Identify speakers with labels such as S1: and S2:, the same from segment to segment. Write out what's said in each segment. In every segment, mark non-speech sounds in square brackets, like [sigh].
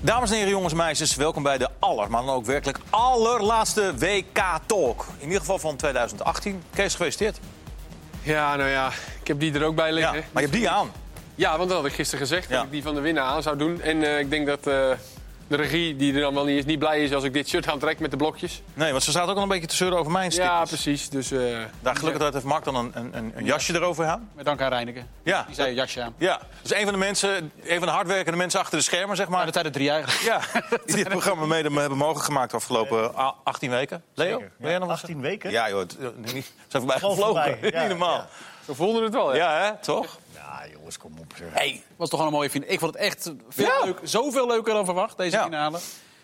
S1: Dames en heren, jongens en meisjes, welkom bij de aller, maar dan ook werkelijk allerlaatste WK-talk. In ieder geval van 2018. Kees, gefeliciteerd.
S2: Ja, nou ja, ik heb die er ook bij
S1: Ja,
S2: liggen.
S1: maar
S2: Ja,
S1: je hebt die aan.
S2: want dat had ik gisteren gezegd,
S1: Ja.
S2: dat ik die van de winnaar aan zou doen. En eh, ik denk dat eh, de regie, die er dan wel niet is, niet blij is als ik dit shirt aantrek met de blokjes.
S1: Nee, want ze zaten ook al een beetje te zeuren over mijn stickers.
S2: Ja, precies. Dus, eh,
S1: Daar gelukkig dat heeft Mark dan een, een- een, een jasje erover aan.
S3: Met dank aan Reineken.
S1: Ja,
S3: Die zei jasje aan.
S1: ja. Dus een van de mensen, een van de hardwerkende mensen achter de schermen, zeg maar.
S3: Maar dat zijn er drie eigenlijk.
S1: Ja, die dit programma mede hebben mogelijk gemaakt de afgelopen ah, 18 weken. Leo,
S4: Zeker.
S1: ben jij nog wat
S4: 18 weken?
S1: zeggen? Ja joh, het- eh, niet- ze zijn voorbij
S4: Gewoon
S1: gevlogen.
S4: voorbij,
S1: [laughs]
S4: ja,
S1: Niet normaal.
S2: we voelden het wel,
S1: Ja,
S2: ja.
S1: hè, toch?
S4: Ja, jongens, kom op. zeg.
S3: [laughs] Was toch wel een mooie finale. Ik vond het echt veel
S1: Ja.
S3: leuk, zoveel leuker dan verwacht, deze
S1: Ja.
S3: finale.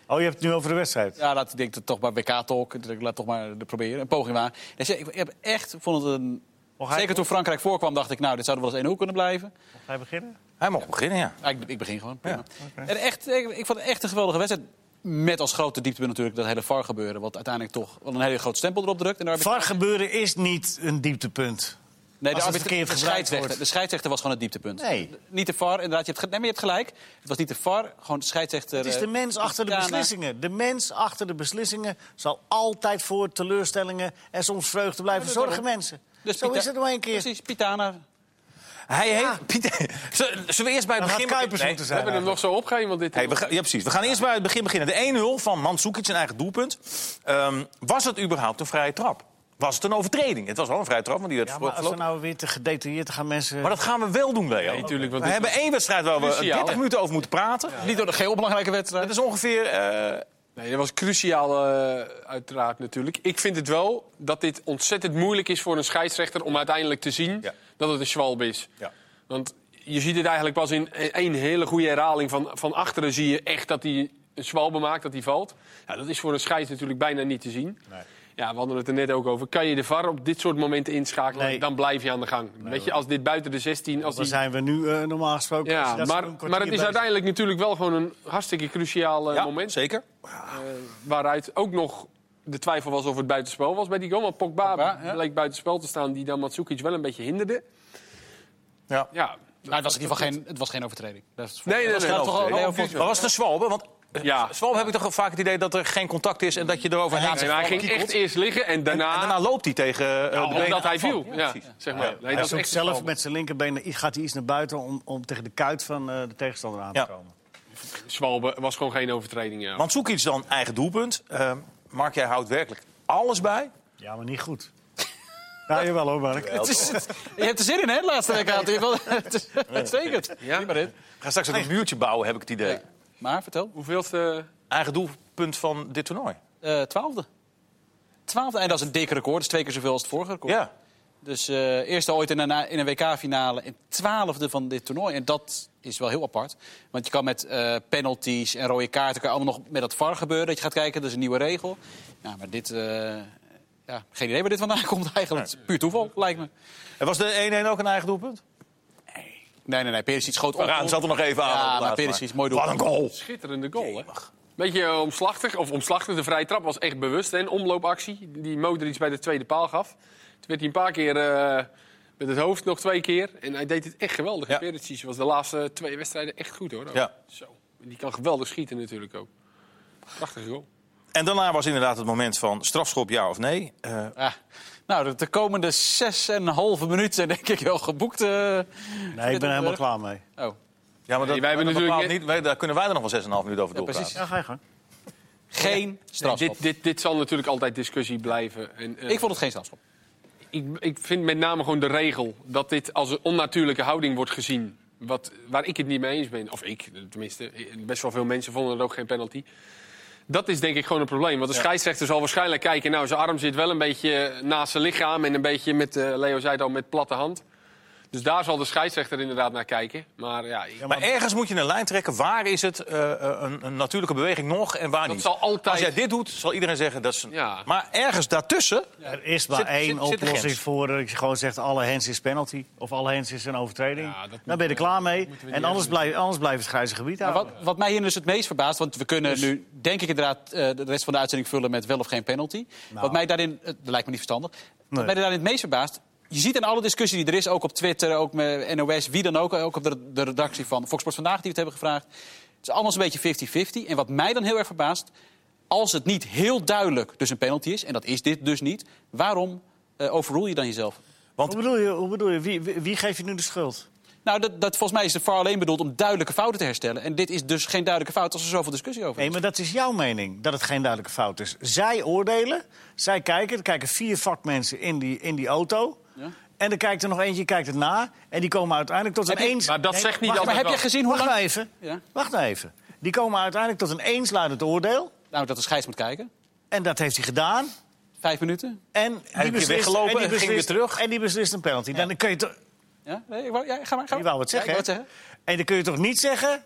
S4: Oh, je hebt het nu over de wedstrijd.
S3: Ja, laat ik denk dat toch bij WK-talk. dat Ik laat toch maar de proberen. Een poging waar. Dus ja, ik, ik heb echt, ik vond het een...
S4: Mag hij,
S3: Zeker toen Frankrijk voorkwam, dacht ik, nou, dit zouden wel eens 1-0 kunnen blijven.
S4: mag hij beginnen?
S1: Hij mag beginnen, ja.
S3: Ah, ik, ik begin gewoon.
S1: Ja,
S3: prima. en echt, ik, ik vond het echt een geweldige wedstrijd. Met als grote dieptepunt natuurlijk dat hele VAR gebeuren. Wat uiteindelijk toch wel een hele groot stempel erop drukt. En de arbitra-
S4: VAR gebeuren is niet een dieptepunt.
S3: Nee,
S4: Als het
S3: arbitra- de,
S4: verkeerd gebruikt
S3: scheidsrechter,
S4: wordt.
S3: de scheidsrechter was gewoon het dieptepunt.
S4: Nee.
S3: Niet de VAR, inderdaad. Je hebt, ge- nee, maar je hebt gelijk. Het was niet de VAR, gewoon de scheidsrechter. eh,
S4: Het is de mens achter de beslissingen. De mens achter de beslissingen zal altijd voor teleurstellingen en soms vreugde blijven zorgen, mensen. Zo is het nog een keer.
S3: Dus Precies, Pitana.
S1: Hij heeft... Pieter, [laughs] zullen zullen we eerst bij het
S4: Dan
S1: begin...
S4: gaat Kuipers
S1: Nee.
S4: moeten
S2: We hebben
S4: zijn.
S2: hem nog zo opgegeven, dit
S1: Hey, we gaan, ja, precies. We gaan eerst bij het begin beginnen. De 1-0 van Mandzukic, zijn eigen doelpunt. Ehm, was het überhaupt een vrije trap? Was het een overtreding? Het was wel een vrije trap, want die werd
S4: Ja,
S1: ja,
S4: maar als we nou weer te gedetailleerd gaan mensen...
S1: Maar dat gaan we wel doen, Leo.
S2: Nee, tuurlijk, want
S1: we
S2: dit
S1: hebben één wedstrijd waar we
S2: Cruciaal,
S1: 30
S2: hè?
S1: minuten over moeten praten.
S3: Niet door de geel belangrijke wedstrijd.
S1: Dat is ongeveer... eh,
S2: Nee, dat was cruciaal, eh, uiteraard natuurlijk. Ik vind het wel dat dit ontzettend moeilijk is voor een scheidsrechter om uiteindelijk te zien
S1: Ja.
S2: dat het een schwalb is.
S1: Ja.
S2: Want je ziet het eigenlijk pas in e-, één hele goede herhaling van, van achteren zie je echt dat hij een zwalbe maakt, dat hij valt. Ja, dat is voor een scheids natuurlijk bijna niet te zien. Ja, we hadden het er net ook over. Kan je de VAR op dit soort momenten inschakelen,
S4: Nee.
S2: dan blijf je aan de gang. Weet je, als dit buiten de 16... Als
S4: Dan
S2: die...
S4: zijn we nu eh, normaal gesproken... als je
S2: Ja,
S4: dat
S2: maar,
S4: een kwartier
S2: maar het is
S4: bezig-
S2: uiteindelijk natuurlijk wel gewoon een hartstikke cruciaal eh,
S1: ja,
S2: moment.
S1: zeker.
S2: Waaruit ook nog de twijfel was of het buitenspel was bij die goal. Want Pogba,
S3: Pogba, ja.
S2: bleek buitenspel te staan, die dan Matsukic wel een beetje hinderde.
S1: Ja.
S2: Ja,
S3: Maar het was, in ieder geval geen, het was geen overtreding. Dat is
S2: Nee, nee,
S3: dat was
S2: nee,
S3: toch al-
S2: overtreding.
S3: Leo
S2: Oh,
S3: vond-
S2: precies.
S1: Maar was het een zwalbe? Want
S2: Ja.
S1: ja. zwalbe heb ik toch vaak het idee dat er geen contact is... en dat je erover heen...
S2: en
S1: en,
S2: hij ging echt eerst liggen en daarna,
S1: en daarna loopt hij tegen eh, de benen
S2: omdat hij
S1: van-
S2: viel. Ja,
S1: precies.
S2: zeg maar. Nee,
S4: Hij
S2: dat is
S4: zoekt
S2: echt
S4: zelf
S2: zelf
S4: met zijn linkerbeen gaat hij iets naar buiten om, om tegen de kuit van eh, de tegenstander aan te
S1: Ja.
S4: komen.
S2: Zwalbe was gewoon geen overtreding. Ja.
S1: Mandzukic dan eigen doelpunt. Eh, Mark, jij houdt werkelijk alles bij.
S4: Ja, maar niet goed. Ja, jawel hoor, Mark.
S3: Het is- Je hebt er zin in, hè, de laatste week.
S4: [laughs]
S3: Aad? Je wil- Het is uitstekend.
S2: Ja?
S3: Prima dit.
S1: Ga straks ook een muurtje bouwen, heb ik het idee.
S3: Maar, vertel.
S2: Hoeveelste...
S1: Eigen doelpunt van dit toernooi.
S3: Eh, twaalfde. Twaalfde. En dat is een dikke record. Dat is twee keer zoveel als het vorige record.
S1: Ja.
S3: Dus eh eerste ooit in een, in een WK-finale en twaalfde van dit toernooi. En dat is wel heel apart. Want je kan met eh, penalties en rode kaarten... kan allemaal nog met dat VAR gebeuren. Dat je gaat kijken, dat is een nieuwe regel. Ja, maar dit... eh, ja, geen idee waar dit vandaan [laughs] komt eigenlijk. Het is puur toeval, lijkt me.
S1: En was de 1-1 ook een eigen doelpunt?
S3: Nee, nee, nee. Perisic schoot op.
S1: Varaan zat er nog even aan.
S3: Ja,
S1: op het
S3: maar
S1: laatst,
S3: Perisic, mooi
S1: Wat een
S3: doelpunt.
S1: goal.
S2: Schitterende goal, hè? Beetje eh, omslachtig, of omslachtig. De vrije trap was echt bewust. hè, Een omloopactie die Modric bij de tweede paal gaf. Toen werd hij een paar keer eh, met het hoofd, nog twee keer. En hij deed het echt geweldig.
S1: Ja.
S2: Perisic was de laatste twee wedstrijden echt goed, hoor. ook.
S1: Ja.
S2: Zo. En Die kan geweldig schieten natuurlijk ook. Prachtige goal.
S1: En daarna was inderdaad het moment van strafschop, ja of nee. Eh,
S3: Ja. Nou, de- de komende zes en een halve minuut zijn denk ik [laughs] wel geboekt. eh,
S4: Nee, ik ben er helemaal klaar mee.
S3: Oh,
S1: ja, maar dat,
S2: Nee, wij hebben
S1: dat
S2: natuurlijk-
S1: bepaalt niet, wij- daar kunnen wij er nog wel 6,5 minuten over doorpraten.
S3: precies.
S4: Ja, ga je gang.
S3: geen strafschop.
S2: Dit, dit, dit zal natuurlijk altijd discussie blijven. En, eh,
S3: Ik vond het geen strafschop.
S2: ik, ik vind met name gewoon de regel dat dit als een onnatuurlijke houding wordt gezien. Wat, waar ik het niet mee eens ben. Of ik, tenminste. Best wel veel mensen vonden het ook geen penalty. Dat is denk ik gewoon een probleem. Want de scheidsrechter zal waarschijnlijk kijken... nou, zijn arm zit wel een beetje naast zijn lichaam... en een beetje met, eh, Leo zei het al, met platte hand. Dus daar zal de scheidsrechter inderdaad naar kijken. Maar ja, ik-
S1: Maar ergens moet je een lijn trekken. Waar is het eh, eh, een, een natuurlijke beweging nog en waar
S2: dat
S1: niet?
S2: zal altijd...
S1: Als jij dit doet, zal iedereen zeggen dat is een...
S2: Ja.
S1: Maar ergens daartussen...
S4: Er is maar
S1: Zit-
S4: één
S1: zit- zit de
S4: oplossing
S1: grens?
S4: voor dat je gewoon zegt... alle hands is penalty of alle hands is een overtreding.
S2: Ja, dat
S4: Dan
S2: moeten
S4: ben je
S2: we-
S4: er klaar mee.
S2: moeten we
S4: En
S2: niet
S4: anders
S2: hebben.
S4: blijft anders blijft het grijze gebied
S3: Maar
S4: houden.
S3: wat, wat mij hier dus het meest verbaast, want we kunnen nu denk ik inderdaad eh, de rest van de uitzending vullen met wel of geen penalty. Wat mij daarin, eh, dat lijkt me niet verstandig, wat
S4: Nee.
S3: mij daarin het meest verbaast, je ziet in alle discussie die er is, ook op Twitter, ook met NOS, wie dan ook, ook op de, de redactie van Fox Sports Vandaag die we het hebben gevraagd. is allemaal een beetje 50-50. En wat mij dan heel erg verbaast, als het niet heel duidelijk dus een penalty is, en dat is dit dus niet, waarom eh overrule je dan jezelf?
S4: Hoe bedoel je, hoe bedoel je? Wie, wie, wie geeft je nu de schuld?
S3: Nou, dat, dat, volgens mij is de VAR alleen bedoeld om duidelijke fouten te herstellen. En dit is dus geen duidelijke fout als er zoveel discussie over is.
S4: Nee, maar dat is jouw mening, dat het geen duidelijke fout is. Zij oordelen, zij kijken, er kijken vier vakmensen in die, in die auto.
S3: Ja.
S4: En er kijkt er nog eentje, kijkt het na. En die komen uiteindelijk tot een
S3: Heb je-
S4: eens...
S2: Maar dat zegt niet
S4: wacht,
S2: altijd
S3: Maar heb
S2: wel.
S3: je gezien hoe
S4: Wacht nou
S3: lang...
S4: even,
S3: Ja.
S4: wacht nou even. Die komen uiteindelijk tot een eensluidend oordeel.
S3: Nou, dat de scheids moet kijken.
S4: En dat heeft hij gedaan.
S3: Vijf minuten.
S4: En
S1: keer
S4: die beslist,
S1: weggelopen
S4: en die
S1: en ging
S4: beslist-
S1: weer terug.
S4: En die beslist een penalty. Dan kun je toch...
S3: Ja, nee, ik wou- ja, ga maar. Ga maar.
S4: Je wou wat
S3: Ja, ik
S4: zeggen, hè?
S3: wou het
S4: En dan kun je toch niet zeggen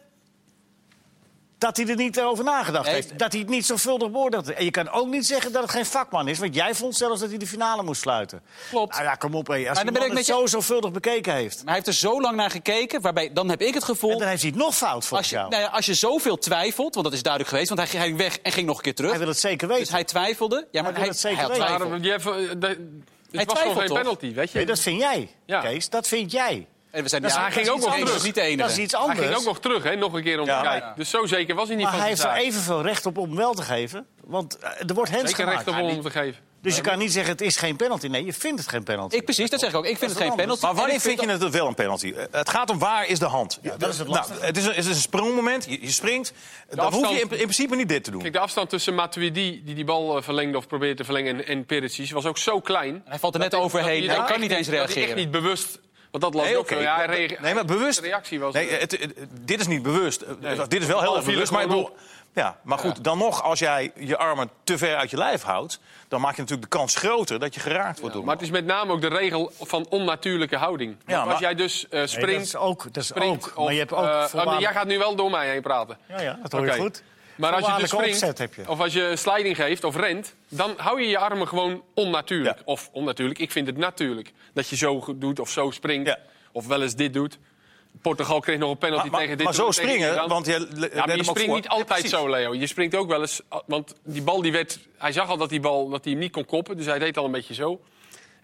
S4: dat hij er niet over nagedacht
S3: Nee.
S4: heeft. Dat hij het niet zorgvuldig beoordeeld heeft. En je kan ook niet zeggen dat het geen vakman is. Want jij vond zelfs dat hij de finale moest sluiten.
S3: Klopt.
S4: Nou ja, kom op. Hé. Als
S3: dan
S4: hij
S3: ben ik
S4: het
S3: met
S4: zo
S3: je-
S4: zorgvuldig bekeken heeft.
S3: Maar hij heeft er zo lang naar gekeken, waarbij dan heb ik het gevoel...
S4: En dan heeft hij het nog fout voor
S3: Als je,
S4: jou.
S3: nou ja, als je zoveel twijfelt, want dat is duidelijk geweest, want hij ging- hij ging weg en ging nog een keer terug.
S4: Hij wil het zeker
S3: dus
S4: weten.
S3: hij twijfelde. Ja, maar
S4: wil
S3: hij,
S4: het zeker
S3: hij had
S4: weten.
S3: twijfel.
S2: Daarom, die heeft, eh, de-
S3: Hij
S2: het was gewoon
S3: twijfelt,
S2: geen
S3: toch?
S2: penalty, weet je.
S4: Nee, dat vind jij,
S2: Ja.
S4: Kees. Dat vind jij.
S3: En we zijn
S2: is- hij ging ook nog
S3: nog
S2: terug.
S3: niet de enige.
S4: Dat is iets
S2: hij
S4: anders.
S2: ging ook nog terug, hè, nog een keer om
S1: Ja.
S2: te kijken. Dus zo zeker was hij niet
S4: maar
S2: van
S4: hij
S2: zijn
S4: heeft er
S2: zaak.
S4: evenveel recht op om wel te geven. Want eh, er wordt hands
S2: Zeker recht
S4: gemaakt.
S2: op om hem te geven.
S4: Dus je kan niet zeggen het is geen penalty. Nee, je vindt het geen penalty.
S3: Ik precies, dat zeg ik ook. Ik vind het
S4: is
S3: geen
S4: wat
S3: penalty.
S4: anders.
S1: Maar
S3: En
S1: wanneer
S3: ik
S1: vind je het wel een penalty? Eh, Het gaat om waar is de hand.
S4: dat is het
S1: nou,
S4: lastige.
S1: het, is een, het is een sprongmoment, je, je springt. Dan hoef je in,
S2: afstand-
S1: in principe niet dit te doen.
S2: Kijk, de afstand tussen Matuidi, die die bal eh, verlengde of probeerde te verlengen, en, en Perisic was ook zo klein.
S3: Hij valt er net
S2: dat-
S3: overheen.
S2: dat
S3: Hij
S2: echt
S3: kan niet eens
S2: Dat hij echt
S3: reageren.
S2: niet bewust... Want dat las
S1: Nee,
S2: ik ook
S1: oké.
S2: zo. Ja, hij reage-
S1: nee, maar bewust.
S2: De reactie was...
S1: Nee,
S2: eh,
S1: het- het- dit is niet bewust. Eh, Dit is wel heel
S2: bal
S1: erg
S2: viel
S1: bewust.
S2: er
S1: Maar, ik
S2: gewoon
S1: bedoel- ja, maar goed, dan nog, als jij je armen te ver uit je lijf houdt... dan maak je natuurlijk de kans groter dat je geraakt wordt door
S2: maar
S1: door
S2: het is met name ook de regel van onnatuurlijke houding.
S1: Ja,
S2: Want
S1: maar-
S2: Als jij dus eh,
S4: Nee, dat
S2: springt...
S4: is ook. Dat is
S2: springt
S4: ook.
S2: of,
S4: Maar je hebt ook.
S2: eh, oh,
S4: voorwaarde-
S2: nee, jij gaat nu wel door mij heen praten.
S4: Ja, ja, dat hoor je
S2: Oké.
S4: goed.
S2: Maar als je dus
S4: Voorwaardelijke
S2: springt,
S4: opzet heb je.
S2: of als je sliding geeft of rent... dan hou je je armen gewoon onnatuurlijk.
S1: Ja.
S2: Of onnatuurlijk, ik vind het natuurlijk. Dat je zo goed doet of zo springt
S1: Ja.
S2: of wel eens dit doet. Portugal kreeg nog een penalty
S1: Maar- maar-
S2: tegen dit.
S1: maar zo
S2: doel, tegen
S1: springen,
S2: Iran.
S1: want je le-
S2: ja,
S1: let
S2: maar
S1: hem
S2: je
S1: ook
S2: springt
S1: voor.
S2: niet
S1: Ja,
S2: altijd
S1: precies.
S2: zo, Leo. Je springt ook wel eens... eh, Want die bal die werd... Hij zag al dat die bal dat hij hem niet kon koppen, dus hij deed al een beetje zo.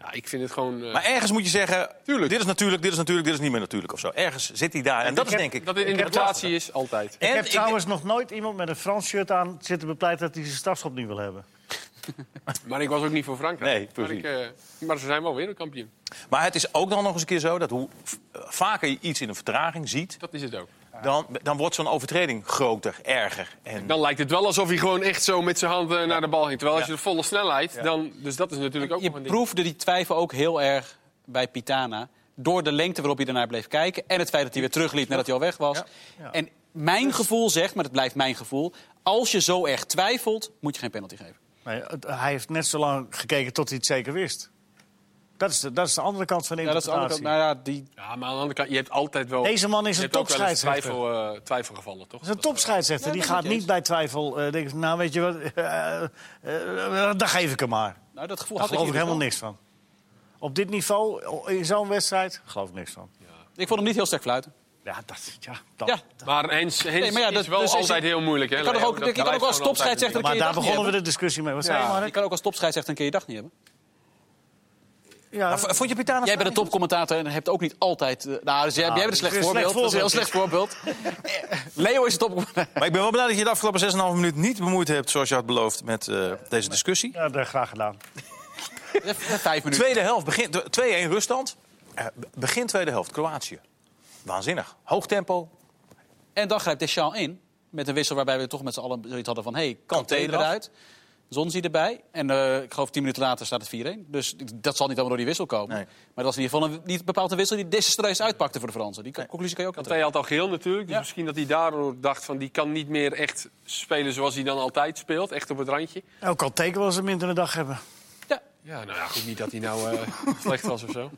S2: Ja, ik vind het gewoon... eh,
S1: Maar ergens moet je zeggen, dit is natuurlijk, dit is natuurlijk, dit is niet meer natuurlijk of zo. Ergens zit hij daar. En dat is denk ik...
S2: dat het
S1: ik heb het lastig.
S2: interpretatie is, altijd.
S4: Ik
S1: En
S4: heb
S1: ik-
S4: trouwens nog nooit iemand met een Frans shirt aan zitten bepleiten dat hij zijn strafschop niet wil hebben.
S2: Maar ik was ook niet voor Frankrijk.
S1: Nee,
S2: Maar,
S1: precies.
S2: ik, eh, maar ze zijn wel wereldkampioen.
S1: Maar het is ook dan nog eens een keer zo dat hoe v- vaker je iets in een vertraging ziet...
S2: Dat is het ook.
S1: dan, dan wordt zo'n overtreding groter, erger. En
S2: Dan lijkt het wel alsof hij gewoon echt zo met zijn hand eh, naar de bal ging. Terwijl als je de volle snelheid, dan... Dus dat is natuurlijk ook
S3: Je
S2: nog een ding.
S3: proefde die twijfel ook heel erg bij Pitana. Door de lengte waarop hij daarnaar bleef kijken. En het feit dat hij weer terugliep nadat hij al weg was. En mijn
S2: Dus-
S3: gevoel zegt, maar dat blijft mijn gevoel. Als je zo erg twijfelt, moet je geen penalty geven.
S4: Nee, het- hij heeft net zo lang gekeken tot hij het zeker wist. Dat is de, dat is de andere kant van de
S3: Ja, dat is de andere
S4: interpretatie.
S3: kant. Nou ja, die,
S2: Ja, maar aan de andere kant, je hebt altijd wel...
S4: Deze man
S2: je
S4: is een
S2: hebt ook wel eens
S4: topscheidsrechter.
S2: twijfel, eh, twijfelgevallen, toch?
S4: Dat is een topscheidsrechter.
S3: Ja,
S4: die
S3: dat
S4: gaat
S3: moet je
S4: niet bij twijfel eh denken, van, nou weet je wat, [laughs] eh, eh, eh, daar geef ik hem maar.
S3: nou, dat gevoel
S4: Daar
S3: had ik hier
S4: geloof ik
S3: dus
S4: helemaal
S3: wel.
S4: niks van. Op dit niveau, in zo'n wedstrijd, geloof ik niks van.
S3: Ik vond hem niet heel sterk fluiten.
S4: Ja, dat... Ja, dat.
S3: Ja.
S2: Maar Hens, Hens
S3: Nee, maar ja, dat-
S2: is wel
S3: dus is-
S2: altijd heel moeilijk. Hè,
S3: Je kan
S2: Leo?
S3: toch ook-
S2: Dat
S3: je kan ook
S2: blijft
S3: als
S2: gewoon altijd een
S3: topscheidsrechter
S2: ding.
S3: kun
S4: Maar
S3: je
S4: daar
S3: dag niet
S4: begonnen we
S3: hebben.
S4: de discussie mee. Wat zei je,
S2: Ja.
S3: Je
S4: Mark?
S3: kan ook als topscheidsrechter een keer je dag niet hebben.
S4: Ja,
S1: Maar v- vond je Pitana
S3: Jij bent een topcommentator en hebt ook niet altijd... eh, Nou, dus jij, jij bent een slecht
S4: een
S3: voorbeeld.
S4: slecht
S3: Dat is een heel slecht voorbeeld.
S4: [laughs]
S3: Eh, Leo is een topcommentator.
S1: Maar ik ben wel blij dat je de afgelopen 6,5 minuut niet bemoeid hebt, zoals je had beloofd, met eh, deze discussie.
S4: ja, dat graag gedaan.
S3: Vijf minuten.
S1: Tweede helft, begint 2-1 ruststand. Eh, be- begin tweede helft, Kroatië. Waanzinnig. Hoog tempo.
S3: En dan grijpt Deschamps in. Met een wissel waarbij we toch met z'n allen zoiets hadden van... hé, hey, Kanté
S1: Kanté eraf.
S3: eruit. Zonzi erbij. En eh, ik geloof tien minuten later staat het 4-1. Dus dat zal niet allemaal door die wissel komen.
S1: Nee.
S3: Maar dat is in ieder geval een, niet bepaald een wissel die desastreus uitpakte voor de Fransen. Die conclusie kan je ook
S2: Kanté had al geheel natuurlijk. Dus misschien dat hij daardoor dacht van... die kan niet meer echt spelen zoals hij dan altijd speelt. Echt op het randje.
S4: Ook al teken wel eens een mindere dag hebben.
S3: Ja.
S2: Ja, nou ja, goed, niet dat hij nou eh, [laughs] slecht was of zo.